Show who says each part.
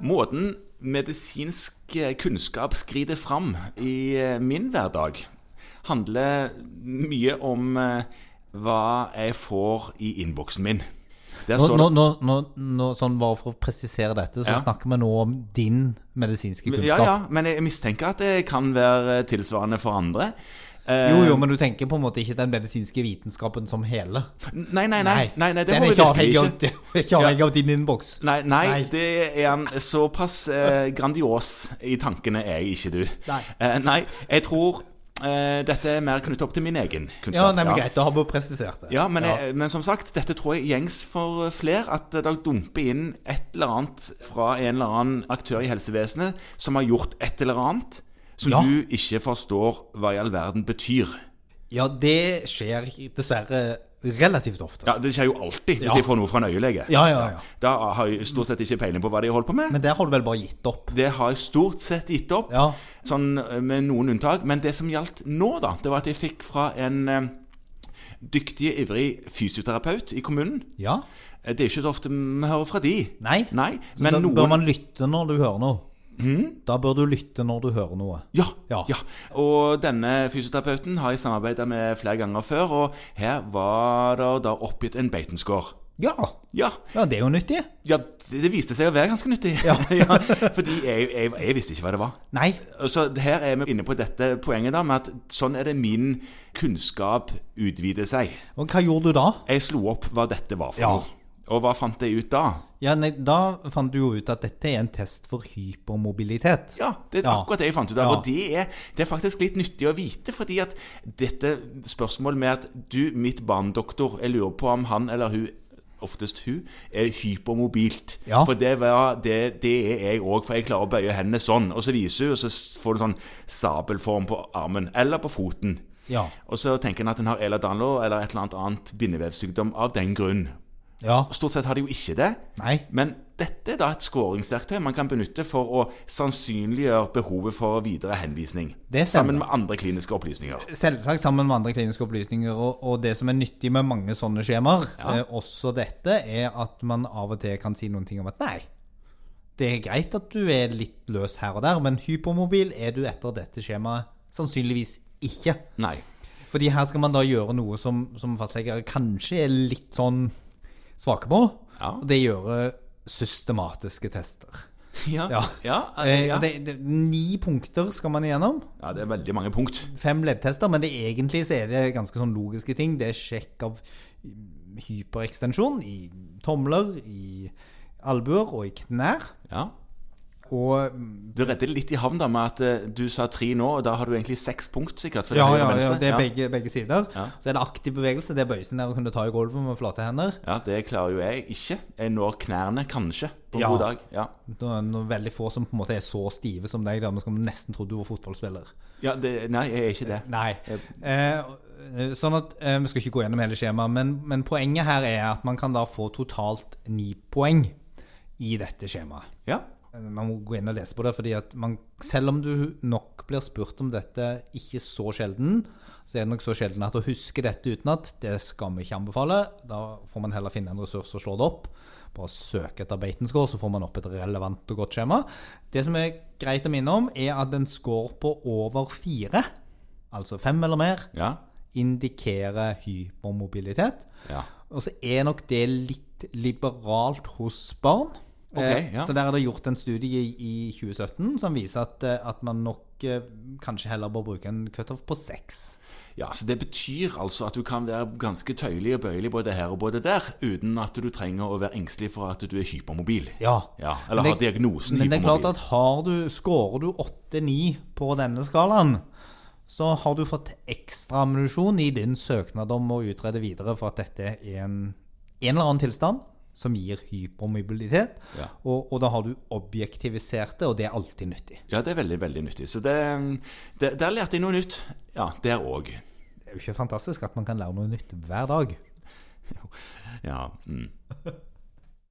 Speaker 1: Måten medisinsk eh, kunnskap skrider fram i eh, min hverdag, handler mye om eh, hva jeg får i innboksen min. Der
Speaker 2: Nå,
Speaker 1: står det-
Speaker 2: nå, nå, nå, nå, sånn bare for å presisere dette, så
Speaker 1: Ja.
Speaker 2: snakker vi nå om din medisinske kunnskap.
Speaker 1: Ja, ja, men jeg mistenker at det kan være eh, tilsvarende for andre.
Speaker 2: Jo, jo, men du tenker på en måte ikke den medisinske vitenskapen som hele.
Speaker 1: Nei, nei, nei, nei, nei det
Speaker 2: den
Speaker 1: må
Speaker 2: er
Speaker 1: vi
Speaker 2: ikke
Speaker 1: virkelig
Speaker 2: avhengig av,
Speaker 1: ikke.
Speaker 2: den er ikke avhengig av din innboks.
Speaker 1: Nei, nei,
Speaker 2: Nei.
Speaker 1: det er han såpass eh, grandios i tankene er jeg ikke, du.
Speaker 2: Nei.
Speaker 1: Eh, nei jeg tror eh, dette er mer knyttet opp til min egen kunnskap.
Speaker 2: Ja, nei, men greit, da har vi presisert det.
Speaker 1: Ja, men, Jeg, men som sagt, dette tror jeg gjengs for eh, flere. At det dumper inn et eller annet fra en eller annen aktør i helsevesenet som har gjort et eller annet som
Speaker 2: Ja.
Speaker 1: du ikke forstår hva i all verden betyr.
Speaker 2: ja, det skjer dessverre relativt ofte.
Speaker 1: Ja, Det skjer jo alltid hvis
Speaker 2: Ja.
Speaker 1: de får noe fra en øyelege.
Speaker 2: Ja, ja, ja.
Speaker 1: Da har jeg stort sett ikke peiling på hva de holder på med.
Speaker 2: Men der har du vel bare gitt opp?
Speaker 1: Det har jeg stort sett gitt opp,
Speaker 2: Ja.
Speaker 1: sånn med noen unntak. Men det som gjaldt nå, da, det var at jeg fikk fra en eh, dyktig, ivrig fysioterapeut i kommunen.
Speaker 2: Ja?
Speaker 1: Eh, Det er ikke så ofte vi hører fra de.
Speaker 2: Nei? Så
Speaker 1: men
Speaker 2: da
Speaker 1: noen Mm?
Speaker 2: bør man lytte når du hører noe. Da bør du lytte når du hører noe.
Speaker 1: ja, ja.
Speaker 2: Ja.
Speaker 1: Og denne fysioterapeuten har jeg samarbeida med flere ganger før, og her var det da oppgitt en beitenskår.
Speaker 2: Ja,
Speaker 1: Ja,
Speaker 2: ja det er jo nyttig.
Speaker 1: ja, det viste seg å være ganske nyttig.
Speaker 2: Ja.
Speaker 1: fordi jeg, jeg, jeg visste ikke hva det var.
Speaker 2: Nei.
Speaker 1: Så her er vi inne på dette poenget da, med at sånn er det min kunnskap utvider seg.
Speaker 2: Og hva gjorde du da?
Speaker 1: Jeg slo opp hva dette var for
Speaker 2: Ja.
Speaker 1: noe. Og hva fant jeg ut da?
Speaker 2: Ja, nei, Da fant du jo ut at dette er en test for hypermobilitet.
Speaker 1: Ja, det er
Speaker 2: Ja.
Speaker 1: akkurat det jeg fant ut av.
Speaker 2: Ja.
Speaker 1: Og det er, det er faktisk litt nyttig å vite, fordi at dette spørsmålet med at du, mitt barnedoktor, jeg lurer på om han eller hun Oftest hun er hypermobilt.
Speaker 2: Ja.
Speaker 1: For det, var, det, det er jeg òg, for jeg klarer å bøye hendene sånn. Og så viser hun, og så får du sånn sabelform på armen. Eller på foten.
Speaker 2: Ja.
Speaker 1: Og så tenker en at en har Ehlers-Danlos eller et eller annet annet bindevevsykdom av den grunn.
Speaker 2: Ja.
Speaker 1: Stort sett har de jo ikke det.
Speaker 2: Nei.
Speaker 1: Men dette er da et skåringsverktøy man kan benytte for å sannsynliggjøre behovet for videre henvisning.
Speaker 2: Det stemmer.
Speaker 1: sammen med andre kliniske opplysninger.
Speaker 2: Selvsagt sammen med andre kliniske opplysninger. Og, og det som er nyttig med mange sånne skjemaer, eh, også dette, er at man av og til kan si noen ting om at nei, det er greit at du er litt løs her og der, men hypermobil er du etter dette skjemaet sannsynligvis ikke.
Speaker 1: Nei.
Speaker 2: Fordi her skal man da gjøre noe som, som fastleger kanskje er litt sånn svake på.
Speaker 1: Ja.
Speaker 2: Og det gjøre systematiske tester.
Speaker 1: Ja. Ja.
Speaker 2: Ja.
Speaker 1: Ja,
Speaker 2: Eh, og Det, det, ni punkter skal man igjennom.
Speaker 1: ja, det er veldig mange punkt.
Speaker 2: Fem leddtester, men det, egentlig så er det ganske sånn logiske ting. Det er sjekk av hyperekstensjon i tomler, i albuer og i knær.
Speaker 1: Ja.
Speaker 2: Og
Speaker 1: Du redder det litt i havn da med at eh, du sa tre nå, og da har du egentlig seks punkt, sikkert. for
Speaker 2: ja,
Speaker 1: høyre
Speaker 2: ja,
Speaker 1: og
Speaker 2: ja,
Speaker 1: venstre.
Speaker 2: det er begge, begge sider.
Speaker 1: Ja.
Speaker 2: Så er det aktiv bevegelse. Det er bøyelsen der å kunne ta i gulvet med flate hender.
Speaker 1: Ja, det klarer jo jeg ikke. Jeg når knærne, kanskje, på en
Speaker 2: Ja.
Speaker 1: god dag. Ja.
Speaker 2: Det er noen veldig få som på en måte er så stive som deg. Da. Man skulle nesten trodd du var fotballspiller.
Speaker 1: ja det, nei, jeg er ikke det.
Speaker 2: Nei. Eh, sånn at eh, Vi skal ikke gå gjennom hele skjemaet, men, men poenget her er at man kan da få totalt ni poeng i dette skjemaet.
Speaker 1: Ja.
Speaker 2: Eh, Man må gå inn og lese på det, fordi at man, selv om du nok blir spurt om dette ikke så sjelden, så er det nok så sjelden at å huske dette utenat, det skal vi ikke anbefale. Da får man heller finne en ressurs og slå det opp. Bare søk etter Beitenskår, så får man opp et relevant og godt skjema. Det som er greit å minne om, er at en score på over fire, altså fem eller mer,
Speaker 1: Ja.
Speaker 2: indikerer hypermobilitet.
Speaker 1: Ja.
Speaker 2: Og så er nok det litt liberalt hos barn.
Speaker 1: Ok,
Speaker 2: Eh,
Speaker 1: ja.
Speaker 2: Så der er det gjort en studie i 2017 som viser at, eh, at man nok eh, kanskje heller bør bruke en cutoff på seks.
Speaker 1: Ja, så Det betyr altså at du kan være ganske tøyelig og bøyelig både her og både der, uten at du trenger å være engstelig for at du er hypermobil.
Speaker 2: Ja.
Speaker 1: Ja, eller
Speaker 2: Men
Speaker 1: har diagnosen
Speaker 2: Men det er klart
Speaker 1: hypermobil.
Speaker 2: at har du, scorer du 8-9 på denne skalaen, så har du fått ekstra ammunisjon i din søknad om å utrede videre for at dette er en, en eller annen tilstand som gir hypermobilitet.
Speaker 1: Ja.
Speaker 2: Og, og da har du objektivisert det, og det er alltid nyttig.
Speaker 1: Ja, det er veldig veldig nyttig. Så det, det, Der lærte jeg noe nytt. Ja, der òg.
Speaker 2: Det er jo ikke fantastisk at man kan lære noe nytt hver dag.
Speaker 1: Ja. Mm.